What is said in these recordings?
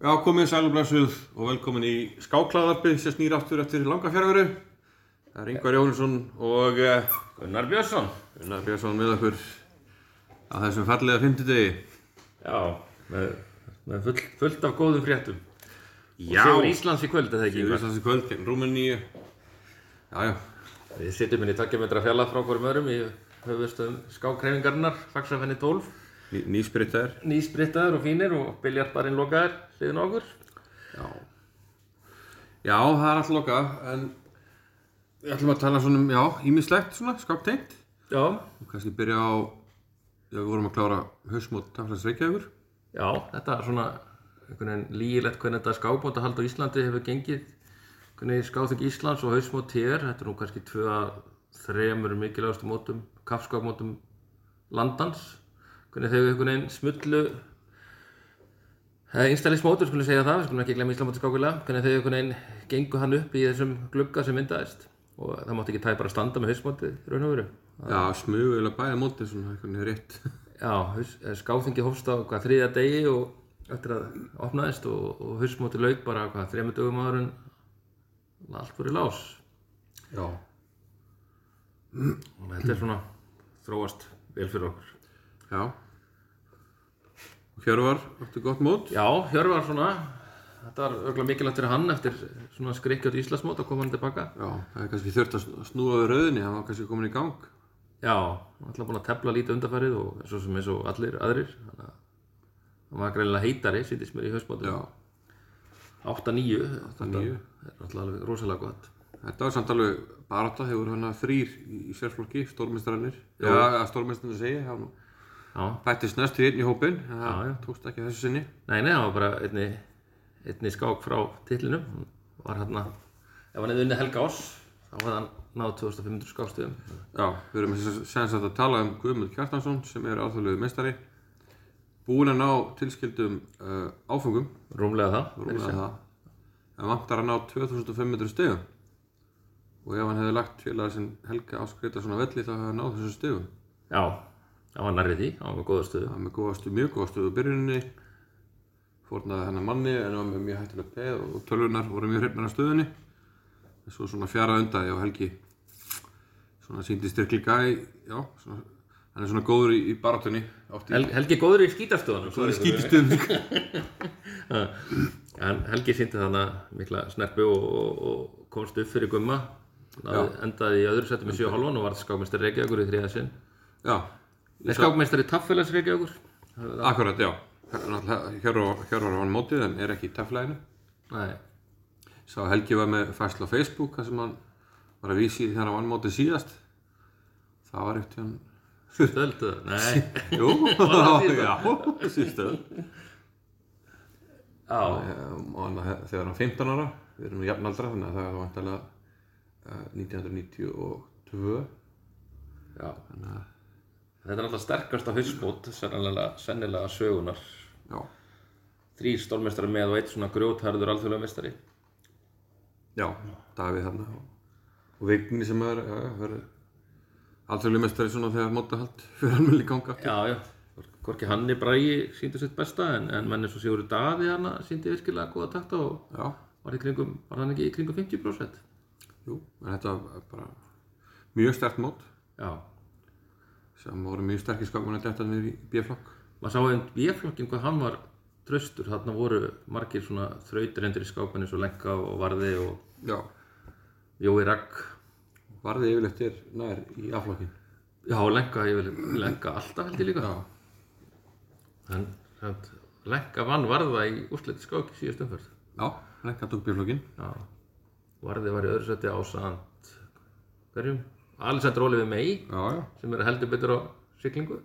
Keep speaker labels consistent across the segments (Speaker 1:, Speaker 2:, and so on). Speaker 1: Já, komið sælublassuð og velkomin í skáklaðarpið sem snýr aftur eftir langa fjárveru. Það er Ingvar Jónsson og eh,
Speaker 2: Gunnar Björnsson
Speaker 1: Gunnar Björnsson með okkur á þessum fallega fimmtudegi.
Speaker 2: Já, með, með full, fullt af góðum fréttum
Speaker 1: Já,
Speaker 2: Og sigur Íslands í kvöld, eða ekki
Speaker 1: Sigur
Speaker 2: Íslands.
Speaker 1: Íslands í kvöld, gegn Rúmeníu. Já, já,
Speaker 2: Við sitjum inn í takkja metra fjalla frá hverjum öðrum í höfustöðum skákreifingarnar, Saxafenni 12
Speaker 1: ný, nýsprittaður.
Speaker 2: Nýsprittaður og fínir og biljartbarinn lokaður hliðin á okkur
Speaker 1: Já. já, það er allt loka, en við ætlum að tala svona um, já, ímislegt svona, skáptengt.
Speaker 2: Já,
Speaker 1: Og kannski byrja á, já, við vorum að klára hausmót Taflas Reykjavíkur.
Speaker 2: já, þetta er svona einhvern veginn lígilegt hvernig þetta skákbóndahald á Íslandi hefur gengið einhvern veginn skáþing Íslands og hausmót TR þetta er nú kannski tvö að þremur mikilvægastu mótum, kaffskákmótum landans hvernig þau einhvern veginn smullu einstaklingsmótur skulum segja það, við skulum ekki glemja Íslamóti skákulega hvernig þau einhvern veginn gengu hann upp í þessum glugga sem myndaðist og það mátti ekki tæpar að standa með hausmóti raun og veru
Speaker 1: Já, smugulega bæða mótið svona, eitthvað rétt.
Speaker 2: Já, haus- eh, skáþingi hófst á hvað, þriðja degi og eftir að opnaðist og, og hausmóti lauk bara hvað, þremur dögum áður en allt voru í lás
Speaker 1: Já.
Speaker 2: og þetta er svona þróast vel fyrir okkur
Speaker 1: Já. Og Hjörvar, áttu gott mót?
Speaker 2: Já, Hjörvar svona þetta var örgulega mikilvægt fyrir hann eftir svona skrikkjátt Íslandsmót að koma hann tilbaka
Speaker 1: Já, það er kannski þurft að sn- snúa við rauðinni, það var kannski komin í gang.
Speaker 2: Já, hann ætla búin að tefla lítið undarfærið og svo sem eins og allir aðrir þannig að hann var greinilega heitari sýttist mér í hausmótum
Speaker 1: Já,
Speaker 2: 8-9
Speaker 1: það nýju.
Speaker 2: er alltaf alveg rosalega gott
Speaker 1: Þetta var samt alveg barátta, þeir voru hana þrýr í í sérflokki, stórmestrarnir. Já, að stórmestrarnir segja, hann
Speaker 2: Já,
Speaker 1: bættist næst í einn í hópin, en það
Speaker 2: Já, já.
Speaker 1: tókst ekki að þessu sinni.
Speaker 2: Nei, nei, það var bara einni, einni skák frá titlinum. Hann var hérna, ef hann hefði unnið Helga Ás, þá hefði hann náð 2500 skákstöðum.
Speaker 1: Já, við erum sem sagt að tala um Guðmund Kjartansson sem er alþjóðlegu meistari. Búinn að ná tilskildum uh, áfengum,
Speaker 2: Rúmlega það.
Speaker 1: rúmlega það. En vantar að ná 2500 stegum. Og ef hann hefði lagt félagar sem Helga áskreita svona velli þá hefði hann náð þessu stegum.
Speaker 2: Já, það var nærrið því, það var með góða stöðu.
Speaker 1: Það var með góðastu, mjög góðastu í byrjuninni. Fórnaði hennar manni en var með mjög hættilega peð og tölvunar voru mjög hreifnar af stöðunni. En svo svona fjara undaði og Helgi svona síndi styrkleika í, já, svona, hann er svona góður í, í baráttunni. Oft í,
Speaker 2: Hel, Helgi er góður í skítastöðunum.
Speaker 1: í skítistöðum, sko.
Speaker 2: En Helgi sýndi þannig mikla snerpu og, og, og komst upp fyrir gumma. Náði, endaði í öðru setjum með 7.5 og varð skákmeistari Reykjavíkur í þriða sinn.
Speaker 1: Já,
Speaker 2: Nei, skákmeistari Taffélags Reykjavíkur.
Speaker 1: akkurat, já. Hér var hann mótið en er ekki í taflæðinu.
Speaker 2: Nei,
Speaker 1: Sá Helgi var með fæsla á Facebook þar sem hann var að vísi þegar hann vann mótið síðast. Það var eftir hann...
Speaker 2: stöðöldu. Nei.
Speaker 1: Jú,
Speaker 2: það síðast?
Speaker 1: já, síðstöð.
Speaker 2: Já,
Speaker 1: Og hann, þegar hann var 15 ára, við erum nú jafnaldra þannig að það var vantilega uh, 1992.
Speaker 2: Já. Þetta er alltaf sterkasta hausmót sennilega, sennilega sögunar.
Speaker 1: Já,
Speaker 2: Þrýr stórmestari með og eitt svona grjótharður alþjóðlega mestari.
Speaker 1: já, Davíð þarna og, og Vigni sem er, já, já, verið alþjóðlega mestari svona þegar mótahald fyrir almenni ganga.
Speaker 2: Já, já. Hvorki Hanni Bragi síndi sitt besta en, en menn eins og Sigurður Daði hana síndi virkilega góða takta og
Speaker 1: Já,
Speaker 2: var, í kringum, var hann ekki í kringum 50%.
Speaker 1: jú, en þetta var bara mjög stert mót
Speaker 2: Já.
Speaker 1: sem voru mjög sterkir skakmann að detta niður í B-flokk.
Speaker 2: Maður sá einn B-flokkin hvað hann var traustur. Þarna voru margir svona þrautreindir í skápan eins og Lenka og Varði og
Speaker 1: Já,
Speaker 2: Jói Ragg.
Speaker 1: varði yfirleitt er nær í A-flokkin.
Speaker 2: Já, Lenka, ég vil Lenka alltaf held ég líka.
Speaker 1: Já,
Speaker 2: En samt, Lenka vann varða í úrslit skák í síðast umferð.
Speaker 1: já, Lenka tók B-flokkin.
Speaker 2: Já. Varði var í öðru seti ásamt hverjum? Alessandro Oliver May
Speaker 1: Já, já.
Speaker 2: sem er heldur betur á siglingu.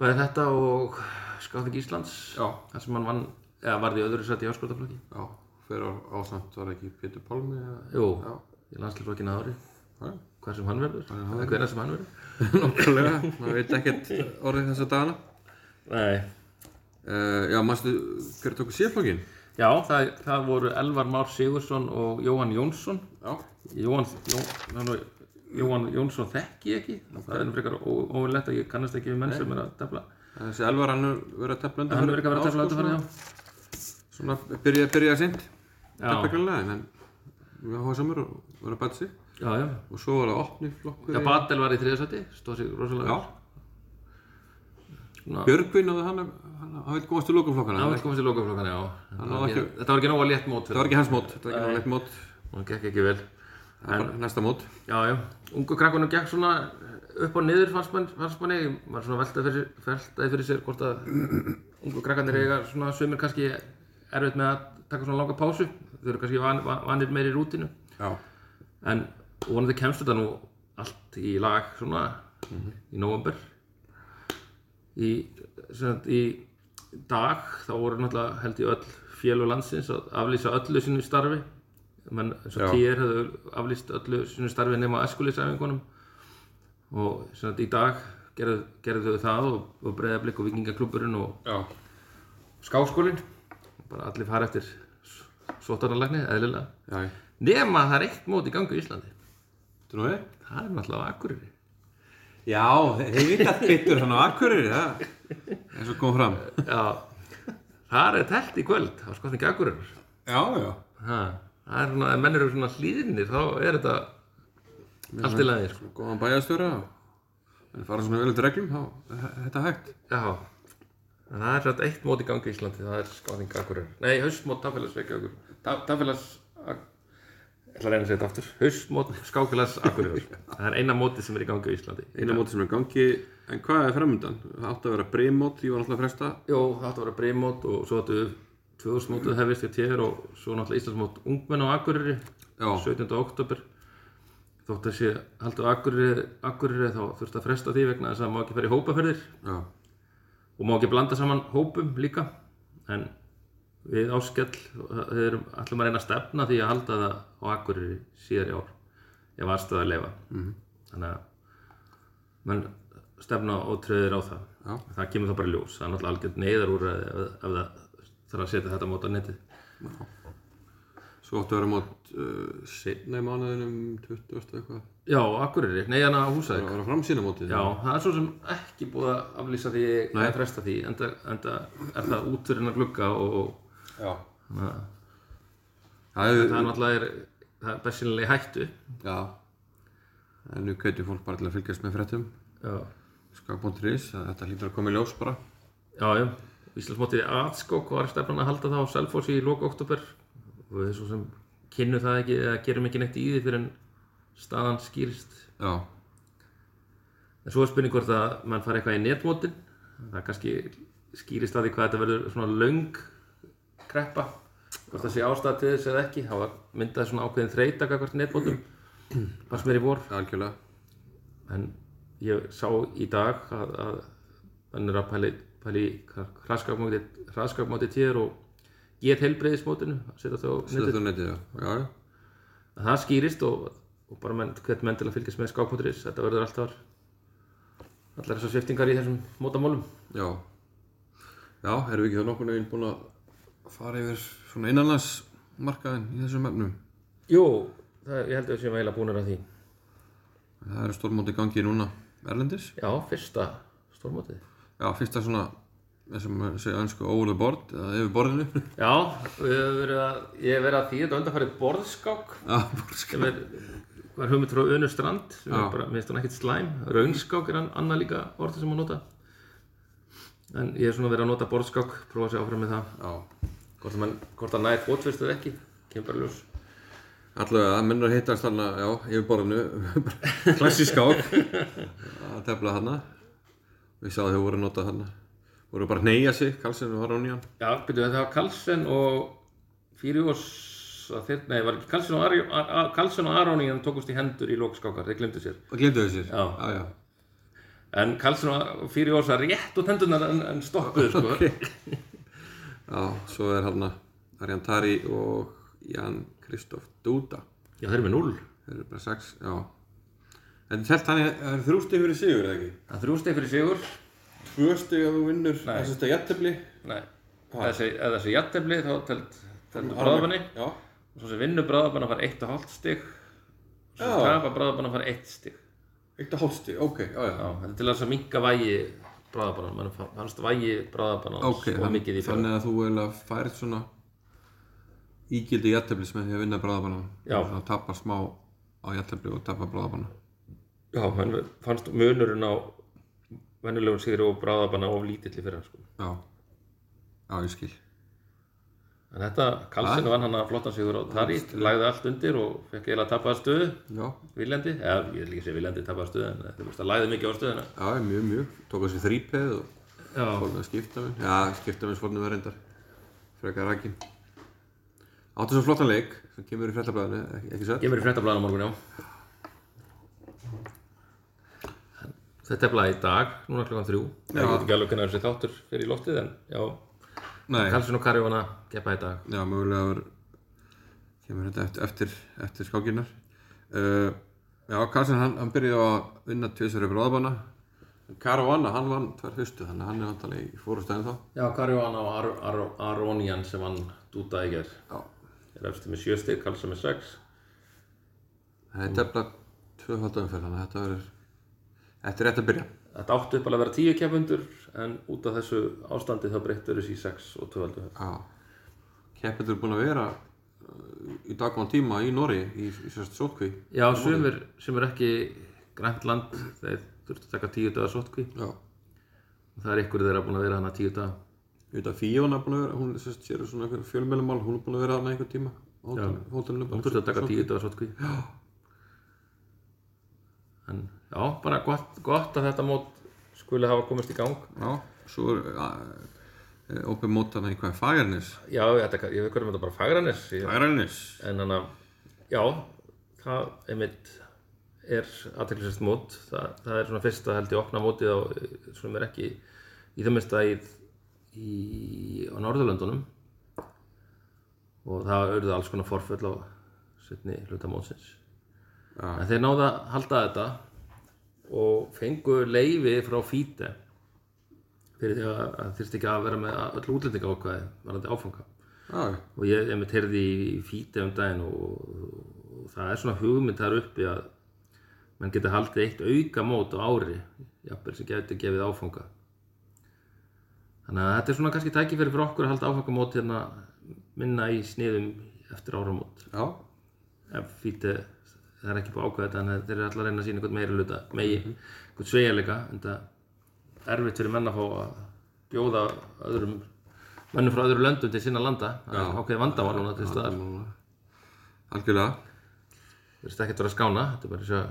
Speaker 2: Bæði þetta og Skáþing Íslands
Speaker 1: Já,
Speaker 2: þar sem hann vann, eða varði í öðru seti í áskotaflokki.
Speaker 1: já, fyrir ásamt var ekki Pétur Pálmi eða...
Speaker 2: Jú,
Speaker 1: Já.
Speaker 2: í landslisflokkinu ári.
Speaker 1: Já,
Speaker 2: Hver sem hann verður, hvernig sem hann verður.
Speaker 1: nokkulega, maður veit ekkert orðið þessa dagana.
Speaker 2: Nei.
Speaker 1: Uh, já, mannstu, hver tók síðflokkin?
Speaker 2: Já, það, það voru Elvar Már Sigursson og Jóhann Jónsson
Speaker 1: Já.
Speaker 2: Jóhann, Jón, nú, Jóhann Jónsson þekki ég ekki það er nú frekar óverlegt að ég kannast ekki við menn sem er að tefla
Speaker 1: Þessi Elvar, hann er verið að tefla undan
Speaker 2: hann er ekki að vera að tefla þetta fyrir já
Speaker 1: svona byrja, byrja sent
Speaker 2: Já.
Speaker 1: tapaklega en við hafa samur og vera bætt sig
Speaker 2: Já, já.
Speaker 1: og svo var það opni flokkur
Speaker 2: Já,
Speaker 1: í-
Speaker 2: Batel var í þriðasæti, stóð sér rosalega
Speaker 1: Já,
Speaker 2: vel. Svona-
Speaker 1: Björgvin og hann, hann, hann vil komast til
Speaker 2: Hann
Speaker 1: lokaflokkana
Speaker 2: vill komast í lokaflokkana, já.
Speaker 1: Hann náði
Speaker 2: Þetta var
Speaker 1: ekki-
Speaker 2: ekki- Þetta var ekki nóga létt mót
Speaker 1: það var ekki hans mót, þetta var ekki náttúrulega mót
Speaker 2: Hún gekk ekki vel.
Speaker 1: það var bara næsta mót
Speaker 2: Já, já. Ungu krakkunum gekk svona eh, upp og niður fannst mann, fannst manni. Maður svona veltaði fyrir, veltaði fyrir sér hvort að ungu krakkarnir eiga svona sumir kannski erfitt með að taka svona langa pásu. Þau eru kannski van, van, vanir meiri í rútinu.
Speaker 1: Já,
Speaker 2: En vonandi kemst þetta nú allt í lag svona í november. Í, sem sagt, í dag þá voru náttúrulega held í öll félög landsins að aflýsa öllu sínu starfi. Menn eins
Speaker 1: Já.
Speaker 2: og týr hefðu aflýst öllu sínu starfi nema eskulísæfingunum. Og sem sagt, í dag gerðu, gerðu þau það og, og breyðablik og vikingaklúburinn og
Speaker 1: já,
Speaker 2: skáskólinn. Bara allir fara eftir sótarnalækni, eðlilega.
Speaker 1: já
Speaker 2: Nema að það er eitt mót í gangi í Íslandi.
Speaker 1: Þetta nú við?
Speaker 2: Það er náttúrulega á Akureyri.
Speaker 1: Já, þeir vita betur hann á Akureyri, það eins og kom fram
Speaker 2: Já, það er telt í kvöld, það var skotningi Akureyrar.
Speaker 1: Já, já
Speaker 2: Ha, það er svona, ef menn eru svona hlýðinir, þá er þetta allt í lagi, sko.
Speaker 1: Góðan bæjarstjóra og en fara svona vel eftir reglum, þá er þetta hægt
Speaker 2: Já, en það er svona eitt mót í gangi í Íslandi, það er skotningi Akureyrar. Nei, haustmót Tafélags Reykjavíkur. Ta- Tafélags, Ak- ég ætla að reyna að segja þetta aftur. Haustmót Skákfélags Akureyrar. Það er eina mótið sem er í gangi í Íslandi.
Speaker 1: Eina móti sem er í gangi, en hvað er framöndan? Það átti að vera breymót, ég var náttúrulega að fresta
Speaker 2: Jó, það átti að vera breymót og svo áttu 2000 mótið hefist í TR og svo náttúrulega Íslandsmót ungmenn á Akureyri.
Speaker 1: Já,
Speaker 2: 17. oktober þótt að sé haldið á Akureyri, Akureyri þá þurfti að fresta því vegna þess að má ekki fara í hópaferðir
Speaker 1: já,
Speaker 2: og má ekki blanda saman hópum líka en við áskell við erum allum að reyna að stefna því að halda það á Akureyri síðar í ár ef aðstöða að leifa
Speaker 1: Mhm.
Speaker 2: -hmm. þannig að menn stefna og tröðir á það
Speaker 1: Já.
Speaker 2: það kemur það bara í ljós það er náttúrulega algjörn neyðarúræði ef, ef það þarf að setja þetta mót á netið
Speaker 1: svo átti að vera mót uh, seinna í mánuðinum 20. eitthvað
Speaker 2: já, á Akureyri, nei hann á Húsavík
Speaker 1: Það var að framsýna mótið
Speaker 2: Já, það er svo sem ekki búið að aflýsa því eða fresta því, enda, enda er það út fyrir hennar glugga og, og
Speaker 1: já.
Speaker 2: þannig að
Speaker 1: Það er,
Speaker 2: það er náttúrulega er, það er bersýnilega hættu.
Speaker 1: já En nú kveitjum fólk bara til að fylgjast með fréttum
Speaker 2: Já,
Speaker 1: Skag.is, að þetta hlýtur að koma í ljós bara
Speaker 2: já, já. Íslandsmótið í Atskók var stefnan að halda það á Selfoss í loka oktober og við svo sem kynnu það ekki eða gerum ekki neitt í því fyrir en staðan skýrist.
Speaker 1: Já,
Speaker 2: En svo er spurning hvort að mann fari eitthvað í netmótin, það kannski skýrist að því hvað þetta verður svona löng kreppa, hvort það sé ástæða til þess eða ekki, það var myndað svona ákveðin þreyta hvert netmótum, bara sem er í vor,
Speaker 1: algjörlega
Speaker 2: en ég sá í dag að, að hann er að pæli, pæli hraskapmóti tér og get heilbreiðismótinu, að setja það á netið,
Speaker 1: Þetta er netið, já, já, já
Speaker 2: að það skýrist og, og bara menn, hvert menn til að fylgjast með skákmóturis, þetta verður alltaf allar þessar sviftingar í þessum mótamálum.
Speaker 1: Já, já, erum við ekki þá nokkurn veginn búin að fara yfir svona innanlands markaðin í þessum efnum?
Speaker 2: Jú, það, ég held að við séum eiginlega búinir að því.
Speaker 1: Það eru stórmóti í gangi núna Erlendis.
Speaker 2: Já, fyrsta stórmótið.
Speaker 1: Já, fyrsta svona, eins og maður segja önsku, over the board, eða yfir borðinu.
Speaker 2: Já, við höfum verið að, ég hef verið að því þetta undanfarið borðskák
Speaker 1: Já, borðskák.
Speaker 2: sem er, var hugmynd frá Unu Strand sem
Speaker 1: Já.
Speaker 2: er bara, minnst hann ekkert slæm. Raunskák er hann annað líka orðið sem hún nota. En ég hef svona verið að nota borðskák, prófa að sé áfram með það.
Speaker 1: Já,
Speaker 2: Hvort að, mann, hvort að næði fótfyrstu eða ekki, kemur bara í ljós.
Speaker 1: allavega, það minnur að hittast þarna, já, yfir borðinu, klassiskák, að tefla þarna. Ég sá að þau voru að nota þarna. Voru bara að neyja sig, Karlsson var án í hann.
Speaker 2: Já, byrjuðu það var Karlsson og Fíriós að þeir, nei, var ekki Karlsson og, Ari- A- A- Karlsson og Aróni en tókust í hendur í lókskákar, þeir glemdu sér.
Speaker 1: Og glemdu þessir.
Speaker 2: Já.
Speaker 1: já, já.
Speaker 2: En Karlsson var fyrir ósa rétt út hendunar en, en stoppuðu sko.
Speaker 1: Já, svo er hérna Arjan Tari og Jan Kristoff Dúda
Speaker 2: Já, þeir eru með 0.
Speaker 1: þeir eru bara sex, já en telt hann er þrjústi fyrir sigur eða ekki?
Speaker 2: Það er þrjú steg fyrir sigur.
Speaker 1: Tvö stig ef þú vinnur þess að jættabli
Speaker 2: Nei, eða þessi, eða þessi jattefli þá telt, teltu bráðabanni.
Speaker 1: Já,
Speaker 2: Svo sem vinnur bráðabanna fær 1,5 stig. Svo sem
Speaker 1: Já.
Speaker 2: tapa bráðabanna fær 1 stig.
Speaker 1: eitt að hálfsti, ok, já já,
Speaker 2: Já, þetta er til þess að minka vægi bráðabanna. Man fannst vægi bráðabanna
Speaker 1: ok,
Speaker 2: og mikið í fyrir.
Speaker 1: þannig að þú eiginlega færð svona ígildi jætteflis með því að vinna bráðabanna
Speaker 2: Já.
Speaker 1: þannig að tapa smá á jættefli og tapa bráðabanna
Speaker 2: Já, hann fannst munurinn á venjulegum sigri og bráðabanna of lítill í fyrir hann sko.
Speaker 1: já, já ég skil
Speaker 2: En þetta, Karlsson vann hann að flottan sigur á Tarit, lagði allt undir og fekk eiginlega tapaða stöðu,
Speaker 1: já,
Speaker 2: viljandi, eða ég vil ekki segja viljandi tapaða stöðu en þú veist að lagði mikið á stöðuna.
Speaker 1: já mjög mjög, tók þessi þrípeð og
Speaker 2: Já.
Speaker 1: fórnum að skipta minn já, skipta minn fórnum að reyndar frekar rakin áttu svo flottan leik sem kemur í frettablaðinu, ekki, ekki sett
Speaker 2: Ég verið fréttablaðan á morgun, já. Þetta er blaðið í dag, núna klukkan þrjú. Já. Ég veit ekki alveg hvernig þessi þáttur fyrir í loftið en já,
Speaker 1: nei,
Speaker 2: Karlsson og Karjóna geppa í dag.
Speaker 1: já, mögulega var, kemur þetta eftir, eftir, eftir skákinnar uh, já, Karlsson hann, hann byrjaði á að vinna tvisar upp ráðabanna Caruana, hann vann tvær fyrstu þannig að hann er vantarlega í fórhústa ennþá
Speaker 2: Já, Karjóna og Ar Ar Aronian sem hann dútaði í gerð.
Speaker 1: já,
Speaker 2: Er eftir með sjö stygg, Karlsson með sex.
Speaker 1: það er tefla tvöfaldumferð þannig að þetta verður þetta er rétt að byrja
Speaker 2: Þetta áttu upp alveg að vera tíu keppundur en út af þessu ástandi þá breyttur þessu í 6 og 12
Speaker 1: já, keppendur er búin að vera uh, í dagvann tíma í Norri í, í sérst sótkví
Speaker 2: Já, sumir sem er ekki grænt land þeir þurftu að taka tíu daga sótkví
Speaker 1: já,
Speaker 2: og það er ykkur þeirra búin að vera hana tíu daga
Speaker 1: auðvitað Fíona er búin að vera hún sérst sér svona fjölmjölumál hún er búin að vera þarna einhver tíma á hótelinu- hótelinu
Speaker 2: og
Speaker 1: bara.
Speaker 2: þurftu að taka tíu daga sótkví Já En já, bara gott, gott að þetta mót skuli hafa komist í gang
Speaker 1: Já, svo er uh, opið mót hann í hvað, Fagernes?
Speaker 2: Já, þetta, ég veit hvernig þetta bara fagranis ég,
Speaker 1: Fagernes?
Speaker 2: en hann að, já það einmitt er aðteklisest mót, það, það er svona fyrsta held ég opna mótið á, eh, sem er ekki í þeim mista í, í á Norðurlöndunum og það auðvitað alls konar forföll á setni hluta mótsins
Speaker 1: Já.
Speaker 2: en þeir náða að halda þetta og fengu leifi frá fíte fyrir því að að þyrfti ekki að vera með öll útlendinga ákvæði varandi áfanga
Speaker 1: Já,
Speaker 2: og ég hef mitt heyrði í fíti um daginn og, og það er svona hugmynd þar uppi að menn geti haldið eitt auka mót á ári jafnvel sem geti gefið áfanga þannig að þetta er svona kannski tækifæri fyrir okkur að halda áfangamót hérna minna í sniðum eftir áramót
Speaker 1: já,
Speaker 2: ef fíti eh, það er ekki búið að ákveða þetta þannig að þeir eru alltaf að reyna að sína einhvern meiri luta megi, einhvern sveigjarleika en það er erfitt fyrir menn að fá að bjóða öðrum mönnum frá öðru löndum til sinna landa það er ákveðið vandamál núna til staðar
Speaker 1: núna. algjörlega
Speaker 2: þeir eru ekkert að vera að skána þetta er bara þess að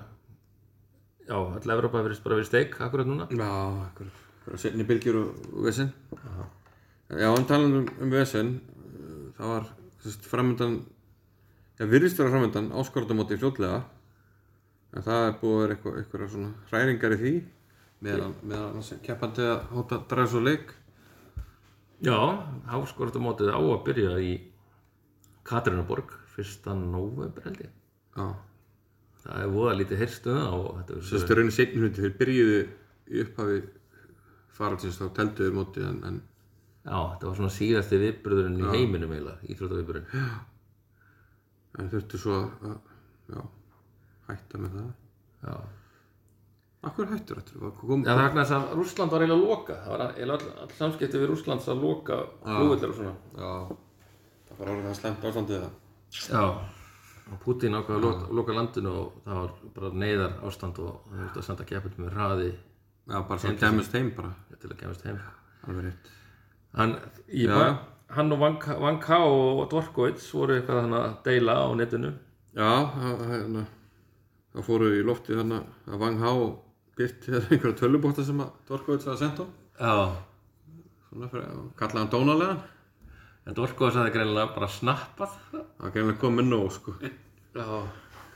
Speaker 2: já, all Evrópa verðist bara verið steik akkurat núna
Speaker 1: Já, einhver setni bylgjur og, og vesen Já, en talan um, um vesen uh, það var sérst, framöndan já, virðist vera framöndan áskorðamóti fljótlega en það er búið að vera eitthvað, eitthvað svona hræringar í því meðan, meðan þessi keppandi að hóta draga svo leik
Speaker 2: já, háskóratumótið á að byrja í Katrínuborg 1. november held ég
Speaker 1: Já,
Speaker 2: það er voða lítið heyrstu og þetta verður
Speaker 1: Þessi raunin setni hluti, þeir byrjuðu í upphafi faraldsins þá telduðu mótið en, en
Speaker 2: Já, þetta var svona síðasti viðbröðurinn í heiminum eiginlega, íþróttaviðbröðurinn.
Speaker 1: en þurftu svo að, að já, hætta með það.
Speaker 2: Já.
Speaker 1: Akkur hættur þetta? Var, kom,
Speaker 2: Já, það vegna þess að Rússland var eiginlega að loka. Það var eiginlega all, all samskipti við Rússlands að loka flugvillar og svona.
Speaker 1: já, það var orðið það slemt ástandið það.
Speaker 2: Já. Og Putin ákvað að loka, loka landinu og það var bara neyðar ástand og það þurfti að senda keppin með hraði
Speaker 1: Já, bara svo kemist heim bara,
Speaker 2: til að kemast heim.
Speaker 1: alveg rétt.
Speaker 2: Hann, í,
Speaker 1: Já.
Speaker 2: hann og Van Ka- Van Ká og Dvorkovits voru eitthvað hann að deila á netinu.
Speaker 1: Já, það- það hérna, þá fóruðu í loftið þarna að Vang Há og Birt hefði einhverja tölubóta sem að Dvorkovits hafði sendt á.
Speaker 2: Já.
Speaker 1: Svona fyrir að kalla hann dónalegan.
Speaker 2: En Dvorkovits hafði greinilega bara snappað.
Speaker 1: Það var greinlega komið nóg, sko.
Speaker 2: Já.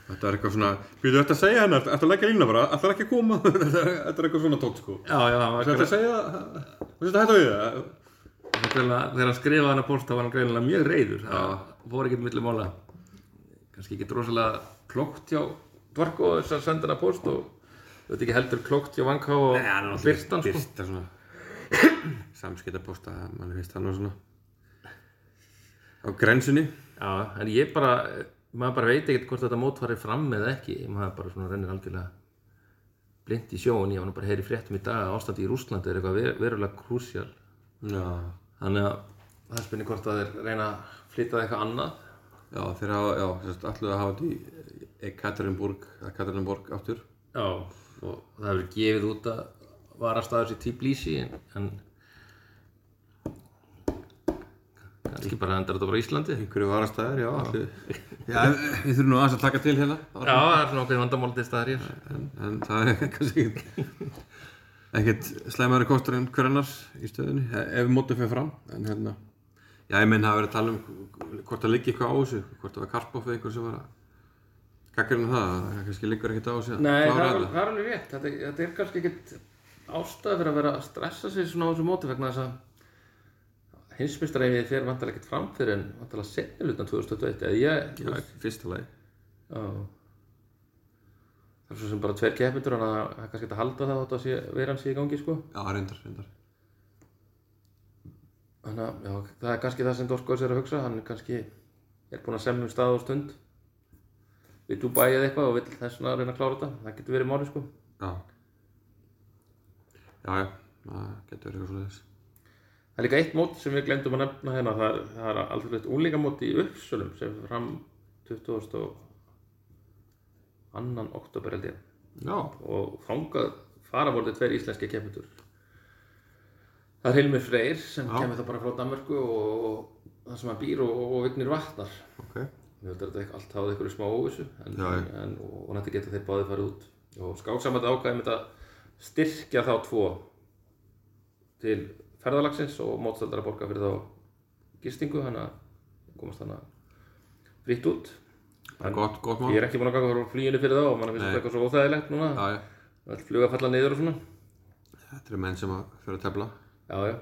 Speaker 1: Þetta er eitthvað svona, býtu þetta að segja hennar, þetta er ekki lína bara, þetta er ekki að koma, þetta er þetta er eitthvað svona tótt sko.
Speaker 2: Já, já, hann var
Speaker 1: Þetta er að segja, þú veist þetta við það?
Speaker 2: Hann greinilega- þegar hann skrifaði hann að posta var hann greinilega mjög reyður það voru ekkert milli mála kannski ekki drosalega klókt hjá Dvarko þess að senda hann að post og þetta ekki heldur klókt hjá Vanká og og Birtan sko
Speaker 1: Birta svona, samskiptaposta, mann finnst það nú svona, á grensunni.
Speaker 2: Já, en ég bara, maður bara veit ekkert hvort þetta mót farið fram eða ekki maður bara svona rennir algjörlega blind í sjóun, ég var nú bara að heyra í fréttum í dag að ástandi í Rússlandi er eitthvað ver- verulega krúsjál
Speaker 1: Já,
Speaker 2: þannig að það er spynni hvort að þeir reyna að flytta það eitthvað annað
Speaker 1: Já, þeir hafa, já, sérst, allir að hafa þetta í Ekaterinburg, Ekaterinburg áttur.
Speaker 3: Já, og það hefur gefið út að varastæður sér Tbilisi en, en kannski bara endur þetta bara á Íslandi Já,
Speaker 1: Einhverju varastæðir, já, allir. Já, við þurfum nú aðeins að taka til hérna.
Speaker 3: það er svona okkur vandamáldi staðar hér
Speaker 1: En, en það er kannski ekkert, ekkert slæmari kostur en hver annars í stöðinni, e- ef mótið fyrir fram. En hérna, já, ég menn það hafa verið að tala um hvort það liggi eitthvað á þessu, hvort það var Karpoff eða einhver sem var að gaggrina það, að það kannski liggur ekkert á þessu. að
Speaker 2: Nei, það
Speaker 1: klára
Speaker 2: er,
Speaker 1: þetta.
Speaker 2: það er alveg rétt. Þetta, þetta er kannski ekkit ástæð fyrir að vera að stressa sig svona á þessu móti vegna þess að hinsmistræfið fer vantarlega ekkit fram fyrir en vantarlega setni lutan 2021 eða ég,
Speaker 1: Já, í fyrsta lagi.
Speaker 2: já. Það er svo sem bara tveir keppindur þannig að það er kannski hægt að halda það þótt að sé, veiran sé í gangi sko.
Speaker 1: Já, reyndar, reyndar.
Speaker 2: Þannig að já, það er kannski það sem Dorkos er að hugsa, hann kannski er búinn að semja um stað og stund við Dubai eða eitthvað og vill þess vegna reyna að klára þetta, það getur verið máli sko.
Speaker 1: Já. Já, já, það getur verið eitthvað svona þess.
Speaker 2: Það er líka eitt mót sem við glemdum að nefna hérna, það er, það er alþjóðlegt úlingamót í Uppsölum sem fer fram 22. annan oktober held ég
Speaker 1: Já,
Speaker 2: og þangað fara voru tveir íslenski keppendur. Það er Hilmi Freyr sem kemur það bara frá Danmörku og, og það sem hann býr og, og vignir vatnar.
Speaker 1: ok.
Speaker 2: Mér heldur þetta ekki allt hafði ykkur smá óvissu en,
Speaker 1: Já, já.
Speaker 2: en og vonandi geta þeir báðið farið út. Og skáksamætt ákvæði með þetta styrkja þá tvo til ferðalagsins og mótstældar að borga fyrir þá gistingu, þannig að komast þannig fritt út.
Speaker 1: Bara gott, gott mál.
Speaker 2: Ég er ekki búinn að ganga frá flýinu fyrir þá og mann finnst þetta eitthvað svo óþægilegt núna.
Speaker 1: Já, já.
Speaker 2: Allt fluga falla niður og svona.
Speaker 1: Þetta eru menn sem að fyrir að tefla.
Speaker 2: Já, já,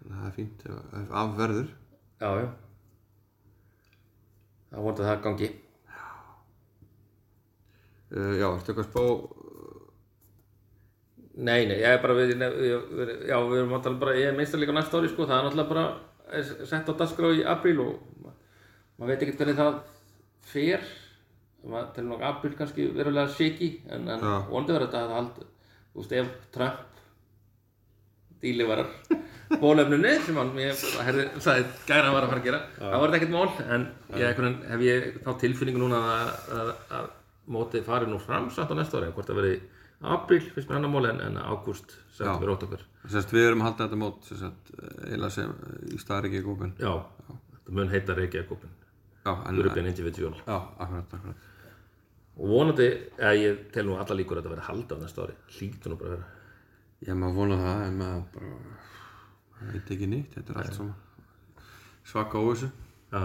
Speaker 1: Þannig að það er fínt ef- ef af verður.
Speaker 2: já, já. Það vonandi að það gangi.
Speaker 1: Uh, já, ertu eitthvað að spá?
Speaker 2: Nei, nei, ég er bara við, ég, ég, já, við erum að tala bara, ég er meistarleika næsta ári, sko, það er náttúrulega bara er sett á dagskrá í apríl og ma- maður veit ekkert hvernig það fer, maður telur nokkuð apríl kannski verulega shaky, en, en
Speaker 1: Já.
Speaker 2: vonandi verður þetta að það hald, þú veist, ef Trump díli varar bólefnunni sem hann, ég herði, sagði gæra að var að fara að gera, það var þetta ekkert mál, en ég, einhvern, veginn hef ég þá tilfinningu núna að, að, að mótið fari nú fram samt á næsta ári, hvort það verði apríl, finnst mér annar mál en, en ágúst,
Speaker 1: Já.
Speaker 2: september, oktober.
Speaker 1: Sérst, við erum að halda þetta mót, sérst, eiginlega sem eh, í staðaríki í gópin.
Speaker 3: Já, þetta mun heita Reykjavíkópin
Speaker 1: Já, en...
Speaker 3: European Individual
Speaker 1: Já, akkurat, akkurat.
Speaker 3: og vonandi, eða ég tel nú alla líkur að þetta verði haldið á næsta ári, hlýtur nú bara að vera
Speaker 1: Ég maður vona það, en maður bara... maður veit ekki nýtt, þetta er allt saman. Svaka óvissu.
Speaker 3: Já,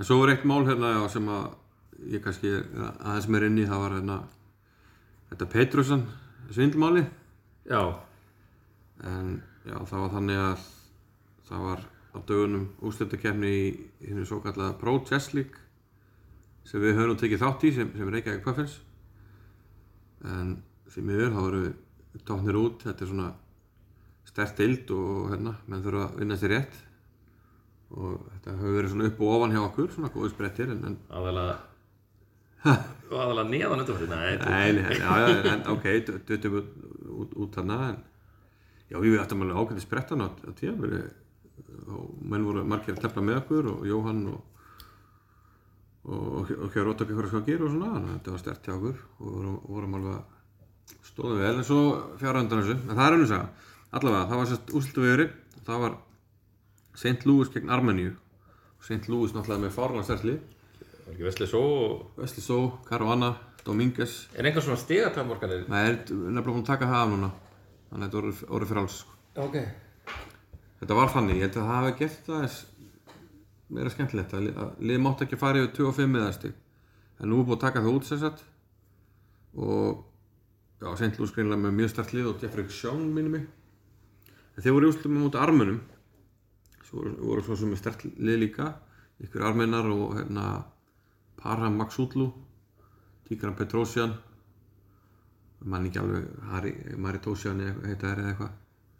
Speaker 1: En svo var eitt mál hérna já, sem að ég kannski er aðeins meir inn í, það var hérna þetta Petrusson svindlmáli
Speaker 3: já,
Speaker 1: en já, það var þannig að það var á dögunum úrstöldakefni í hinnu svo kallaða Pro Chess League sem við höfum tekið þátt í sem, sem Reykjavík Puffins en því miður þá eru við tóknir út, þetta er svona stert deild og hérna menn þurfa að vinna sér rétt og þetta hefur verið svona upp og ofan hjá okkur svona góðið sprettir en, en
Speaker 3: aðalega aðalega neðan undanfæri, nei, þetta-
Speaker 1: Nei, nei, já, já, en, ok, duttum út, út, út hana, en já, við áttum alveg ákveðið sprettan á, á tíðanbyrju og menn voru margir að tefla með okkur og Jóhann og og, og, og hér rótt okkur hvað að gera og svona, þannig að þetta var stert hjá okkur og vorum, vorum alveg að stóðum vel en svo fjara undan þessu, en það er önnur saga, allavega, það var sérst úslutu vegri, það var St. Louis gegn Armeníu og St. Louis náttúrulega með fárlega stertli,
Speaker 3: var ekki veslið svo og
Speaker 1: Vesli Só, Caruana, Domingues
Speaker 3: er einhver svona stigatamorganir
Speaker 1: Nei, er nefnilega búin að taka það af núna Þannig að þetta orðið orðið fyrir alls sko.
Speaker 2: Ok.
Speaker 1: Þetta var þannig, ég held að það hafi gert það eins meira skemmtilegt að li- að lið mátt ekki fara yfir 25 meðastig en nú er búin að taka það út sem sagt og já, St. Louis greinlega með mjög stert lið og Jeffrey Sean minni mig en þeir voru í úrslutum mútið armunum svo voru, voru svo sem með stert lið líka ykkur armenar og hérna Parham Maxutlu Tigran Petrosian mann ekki alveg Harry, Maritosian eða eitthvað- heita þær eða eitthvað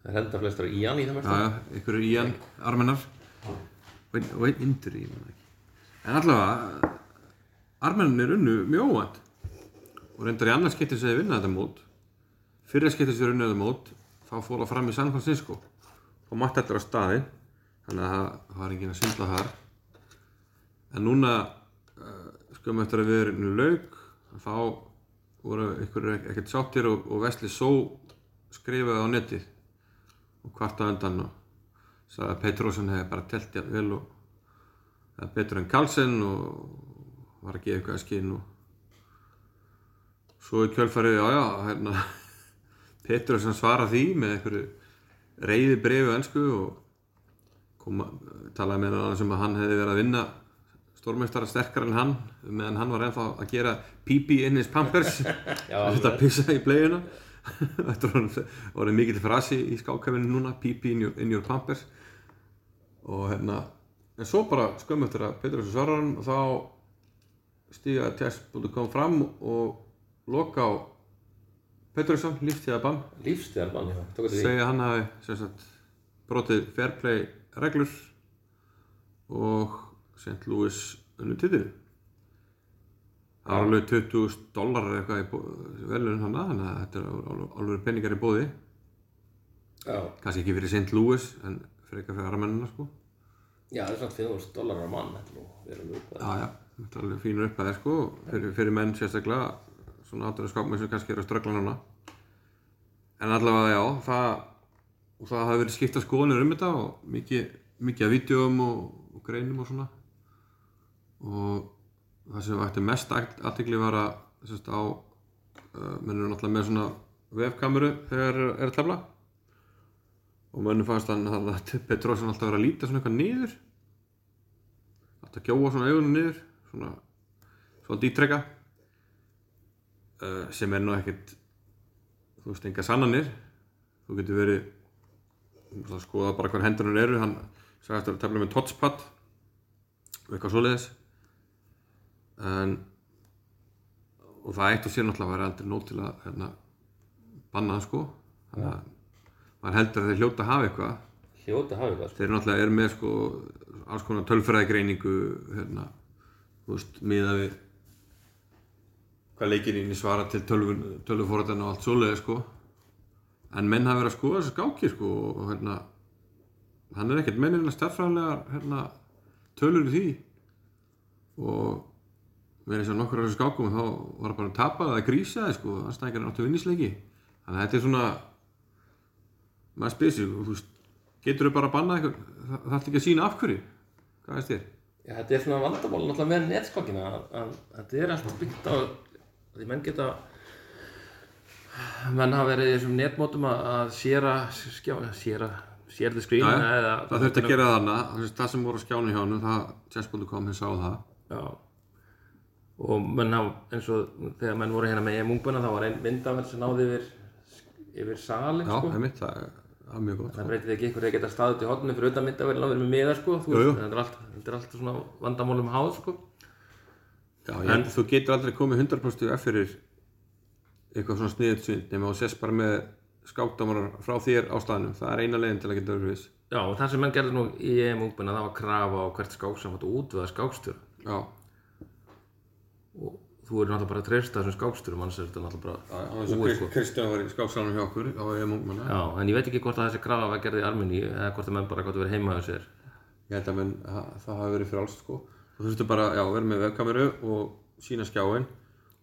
Speaker 2: Það er enda flestar í hann í þeim
Speaker 1: Já, já, ykkur er ían armenar og einn- og einn indur í mann ekki. En allavega, armenin er unnu mjög óvænt og reyndar í annars skipti sem þið vinna þetta mót. Fyrra skipti sem þið unnu þetta mót, þá fór það fram í San Francisco og mætti allir á staði, þannig að það það var enginn að syndla þar. En núna eh, skömmu eftir að viðurinn lauk þá voru einhverjir ek- ekkert sáttir og, og Vesli Só skrifaði á netið og kvartaði undan og sagði að Petrósson hefði bara telt jafn vel og eða betur en Karlsson og var að gefa eitthvað að skinn og svo í kjölfarið, já já, hérna Petrósson svaraði því með einhverju reyði brefi önsku og kom að talaði með hann sem að hann hefði verið að vinna stórmeistara sterkar en hann meðan hann var ennþá að gera pípi inn his pampers þetta pissa í bleiuna þetta var honum- orðið mikill frasi í skákæfinu núna pípi in, your- in your pampers og hérna en svo bara skömmu eftir að Petrus og Svararinn og þá stíga test.com kom fram og loka á Petrusson líftíða bann
Speaker 2: Lífstíðarbann, já, hérna. tók þetta því
Speaker 1: segja að hann hafi sem sagt, brotið fair play reglur og St. Louis unnu titil það var alveg 20 dólar eða eitthvað í bó- velun hann þannig að þetta er alveg, alveg peningar í bóði
Speaker 2: Já,
Speaker 1: kannski ekki fyrir St. Louis en frekar fyrir aramennina sko
Speaker 2: já það er svona 500 dólarar á mann, þetta er nú verið mjög
Speaker 1: já, já, þetta er alveg fínur upphæði sko fyrir, fyrir menn sérstaklega svona áttur að skápmenn sem kannski eru að ströggla núna en allavega já það, og það hafi verið skipta skoðanir um þetta og mikið, mikið af vídeoum og, og greinum og svona og það sem vakti mest aðtikli var að sérst, á, uh, menn eru náttúrulega með svona vefkameru þegar er, er að tefla og mönnum fannst hann að Petrósson alltaf vera að líta svona eitthvað niður átt að gjóa svona augunum niður svona, svona dítrekka uh, sem er nú ekkert þú veist, enga sannanir þú getur verið þú veist að skoða bara hvar hendunar eru hann sagðist að tefla með touchpad og eitthvað svoleiðis en og það eitt og sér náttúrulega væri aldrei nóg til að hérna, banna það sko þannig að maður heldur að þeir hljóta að hafa eitthvað
Speaker 2: Hljóta hafi eitthvað,
Speaker 1: þeir náttúrulega eru með sko alls konar tölfræðigreiningu hérna, þú veist, miða við hvað leikinni svara til tölvun, tölvuforðan og allt svoleiði sko en menn hafa verið að skoða þessu skáki sko og hérna hann er ekkert menninlega stærðfræðilegar hérna, tölur í því og með þess að nokkur af þessu skákum þá var bara að tapa eða grísa því sko, anstæðingar er áttu vinnisleiki þannig að þetta er svona maður spyrir sig, þú veist, getur þau bara að banna eitthvað, það þarf ekki að sína af hverju, hvað veist þér?
Speaker 2: Já, þetta er svona vandamál náttúrulega með netskokkina að, að, að þetta er alltaf byggt á því menn geta menn hafa verið í þessum netmótum að, að séra skjá, séra, sér þið
Speaker 1: Já,
Speaker 2: skrín
Speaker 1: já, það þurfti að gera það hana, það sem voru á skjánu hjá hann, það, chess.com, þið sáu það,
Speaker 2: Já og menn hafa eins og þegar menn voru hérna með múmbuna þá var einn myndafell sem náði yfir yfir salin
Speaker 1: já,
Speaker 2: sko
Speaker 1: einmitt, það er- það er mjög gott,
Speaker 2: það breytið ekki ykkur að geta staðið til hotnum fyrir utan myndafellin á verið með miða sko þú
Speaker 1: Jú, jú.
Speaker 2: veist, þetta er allt- þetta er alltaf svona vandamálum háð sko
Speaker 1: já, ég, en, þú getur aldrei komið 100% af fyrir eitthvað svona sniðut svind, nema þú sést bara með skákdómarar frá þér á staðnum, það er eina leiðin til að geta verið viss,
Speaker 2: Já, og það sem menn gerði nú í EM ungbuna, það var krafa á hvert skáksamvætt og útvöða skákstjóra.
Speaker 1: já,
Speaker 2: Og þú eru náttúrulega bara að treysta þessum skákstjórum, annars er þetta náttúrulega bara...
Speaker 1: eins og Krist- Kristján var í skáksalunum hjá okkur, á ég mungmanna,
Speaker 2: Já, en ég veit ekki hvort að þessi krafa var gerði í Armini, eða hvort að menn bara gott að vera heima hjá sér.
Speaker 1: Ég held að menn, það, það hafi verið frálst sko. Þú þurftu bara, já, vera með vefkameru og sína skjáin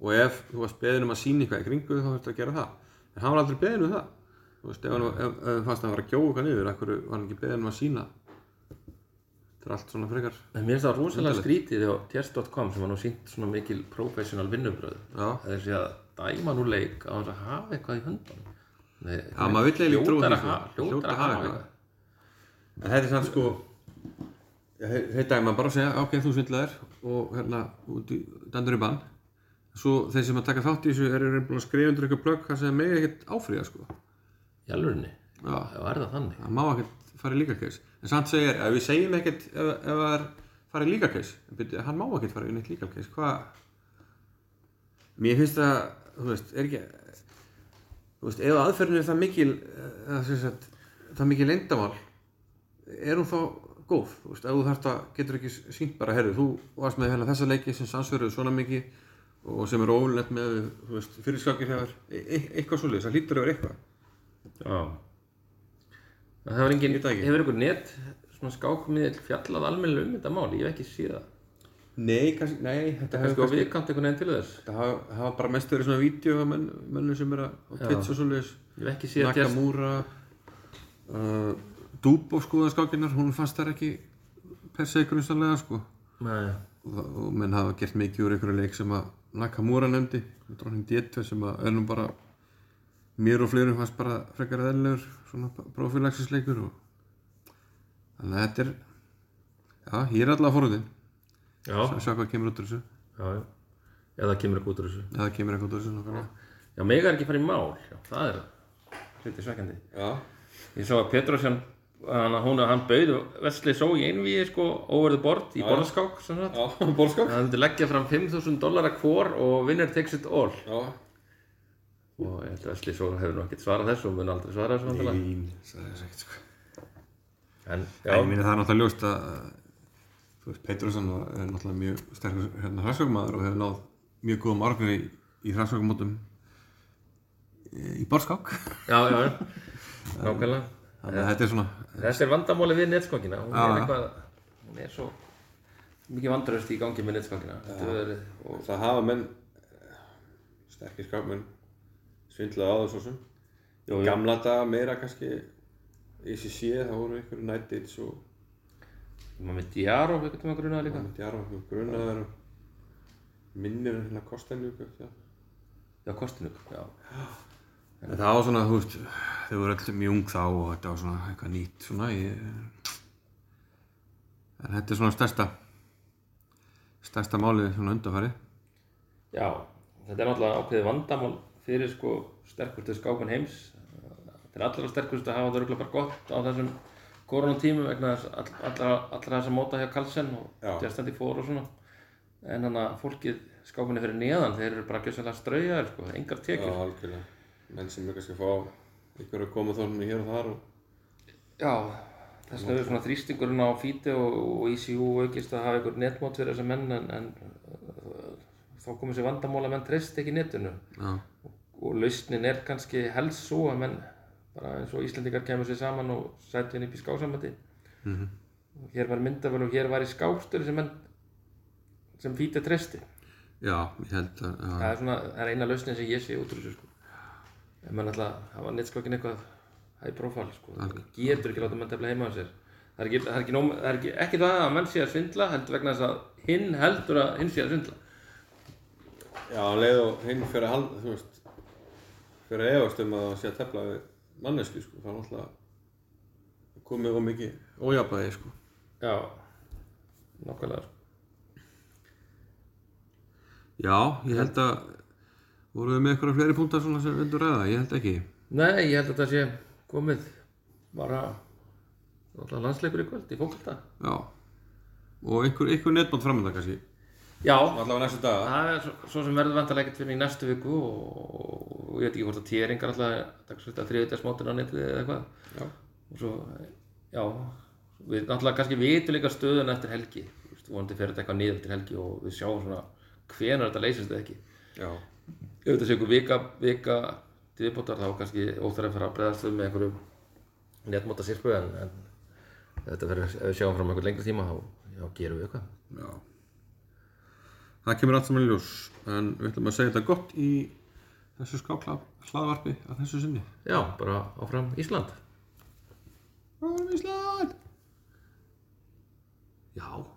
Speaker 1: og ef þú varst beðin um að sína eitthvað í kringu þá þurftu að gera það. En hann var aldrei beðin um það. Þú veist, ef hann var- ef- ef fannst að hann var að gjóða eitthvað niður, af hverju var hann ekki beðin um að sína? Þetta er allt svona frekar.
Speaker 2: En mér finnst það rosalega skrítið hjá Tjers.com sem var nú sínt svona mikil professional vinnubröð.
Speaker 1: Já.
Speaker 2: Þessi að dæma nú leik á þess að hafa eitthvað í höndunum. Nei,
Speaker 1: Já, maður vill eiginlega ekki trúa
Speaker 2: hljótar
Speaker 1: því,
Speaker 2: að
Speaker 1: sko.
Speaker 2: ha- Hljótar að hafa eitthvað.
Speaker 1: En þetta er samt sko já, he- þetta er maður bara að segja ok, þú svindlaðir og hérna út í dandur í bann svo þeir sem að taka þátt í þessu eru reynd búin að skrifa undir eitthvað blögg það sem megi ekkert áfríða sko
Speaker 2: Í alvörunni,
Speaker 1: já,
Speaker 2: þá er það þannig.
Speaker 1: það má ekkert fara í líka case en samt segir að við segjum ekkert ef, ef það er fara í líka case En byrju, hann má ekkert fara í neitt líka case hvað mér finnst það þú veist, er ekki þú veist, ef aðferðin er það mikil eða, sem sagt, það mikil leyndamál er hún þá góð þú veist, ef þú þarft að getur ekki sínt bara herri, þú varst með hérna þessa leiki sem sannsverðu svona mikið og sem er óvinnlegt með þú veist, fyrirskakir hefur e e eitthvað svoleiðis, það hlýtur hefur eitthvað
Speaker 2: Já. En Það var engin,
Speaker 1: Ég veit það ekki.
Speaker 2: hefur einhver net, svona skákmiðil fjallað almennilega um þetta mál, ég hef ekki séð það.
Speaker 1: Nei, kannski, nei, þetta
Speaker 2: Kannski
Speaker 1: hefur
Speaker 2: á viðkant einhvern veginn til þess.
Speaker 1: Þetta hafa, hafa bara mest verið svona vídeo menn, mennum sem er að á Twitch og svoleiðis
Speaker 2: Ég hef ekki séð að gerst.
Speaker 1: Nakamura uh, Dúbof skoða skákinnar, hún fannst þær ekki per se grunstanlega sko
Speaker 2: Nei.
Speaker 1: og, það- og menn hafa gert mikið úr einhverju leik sem að Nakamura nefndi drónin D2 sem að önnum bara mér og fleirum fannst bara frekar eðlilegur svona prófélagsisleikur og þannig að þetta er já, ég er allavega forðin
Speaker 2: Já,
Speaker 1: að sjá hvað kemur út úr þessu
Speaker 2: já, já. Ef það kemur ekki út úr þessu.
Speaker 1: eða kemur eitthvað út úr þessu nákvæmlega.
Speaker 2: Já, mig er ekki farið í mál. Já, það er hluti svekkjandi.
Speaker 1: já,
Speaker 2: Ég sá að Petrosjan, hann, hún, hann bauð Vesli Só í einvíi, sko, over the board, í borðskák, sem sagt.
Speaker 1: já, bólskák
Speaker 2: Hann myndi leggja fram 5.000 dollara hvor og winner takes it all.
Speaker 1: já,
Speaker 2: Og ég held að Vesli Só hefur nú ekkert svarað þessu og mun aldrei svara þessu vantilega.
Speaker 1: fín sagði þess ekkert sko
Speaker 2: En,
Speaker 1: já, ég
Speaker 2: já,
Speaker 1: minna það er náttúrulega ljóst að þú veist, Pettersson var- er náttúrulega mjög sterkur hérna hræsvöggumadur og hefur náð mjög góðum árangri í, í hræsvöggumótum í borskák
Speaker 2: já, já, já. Nákvæmlega.
Speaker 1: þannig að þetta er svona
Speaker 2: Þetta er vandamáli við netskókina. Hún
Speaker 1: Já,
Speaker 2: er
Speaker 1: já.
Speaker 2: eitthvað, hún er svo mikið vandrarust í gangi með netskókina. Þetta hefur verið,
Speaker 1: og það hafa menn eh, sterkir skápmenn svindlaði á þessu sem
Speaker 2: Jú, jú.
Speaker 1: gamla daga meira kannski í sér sé það voru einhverju night dates og
Speaker 2: maður með Diaro, við getum að gruna líka.
Speaker 1: djarfa og grunnaðar og minnir hérna kostenlu já
Speaker 2: Já, Kostinuk, já.
Speaker 1: En það var svona, þú veist, þau voru öll mjög ung þá og þetta var svona eitthvað nýtt svona, ég... En þetta er svona stærsta, stærsta málið svona undanfari.
Speaker 2: Já, þetta er náttúrulega ákveðið vandamál fyrir sko sterkustu skákun heims. Þeir allra sterkustu hafa það röglega bara gott á þessum koronatímum vegna þess all, allra, allra þess að móta hjá Carlsen og
Speaker 1: Já.
Speaker 2: Justin Fór og svona. En þannig að fólkið skákunni fyrir neðan, þeir eru bara gjössalega straujaðir sko, engar tekjur.
Speaker 1: algjörlega. Menn sem er kannski að fá ykkur að koma þorninu hér og þar og...
Speaker 2: Já, þess vegna er svona þrýstingurinn á Fíti og, og ICU aukist að hafa einhver netmót fyrir þessa menn en, en uh, þá komið sér vandamál að menn treyst ekki netinu.
Speaker 1: Já,
Speaker 2: og lausnin er kannski helst svo að menn bara eins og Íslendingar kemur sér saman og sættu henni upp í skáksambandi og hér var myndaföl og hér var í skákstöru sem menn sem fítið treysti
Speaker 1: já, ég held að, já,
Speaker 2: það er svona, það er eina lausnin sem ég sé út úr þessu sko en menn alltaf, það var netskokkin eitthvað high profile sko, það getur ekki láta menn tefla heima á sér það er ekki, það er ekki, nóg, það er ekki, ekki það að menn sé að svindla heldur vegna þess að hinn heldur að hinn sé að svindla
Speaker 1: já, um leið og hinn fyrir að halda, þú veist, fyrir að efast um að það sé að tefla við mannesku, sko, það er náttúrulega komið og mikið ójafnæði, sko.
Speaker 2: já, nokkulega sko.
Speaker 1: Já, ég held að, voru við með eitthvað fleiri púntar svona sem við vildum ræða, ég held ekki.
Speaker 2: Nei, ég held að það sé komið bara náttúrulega landsleikur í kvöld í fókbalta.
Speaker 1: Já Og einhver, einhver netband framönda kannski
Speaker 2: Já,
Speaker 1: Allavega næstu daga
Speaker 2: það er svo, svo sem verður vantarlega ekkert fyrir í næstu viku og, og ég veit ekki hvort að týringar alltaf dagsvist að þriðutarsmótin á netið eða eitthvað.
Speaker 1: Já.
Speaker 2: Og svo, já, við náttúrulega kannski vitum líka stöðun eftir helgi. Þú veist, vonandi fer þetta eitthvað niður til helgi og við sjáum svona hvenar þetta leysist eða ekki.
Speaker 1: Já
Speaker 2: ef þetta sé einhver vika, vika til viðbótar þá er kannski óþæri að fara að breyðast við með einhverju netmóta sirpu en, en þetta verður, ef við sjáum um fram einhver lengri tíma þá já, gerum við eitthvað.
Speaker 1: Já Það kemur allt saman í ljós En við ætlum að segja þetta gott í þessu skáklaðvarpi að þessu sinni
Speaker 2: Já, bara áfram Ísland.
Speaker 1: Rúðum Ísland
Speaker 2: Já.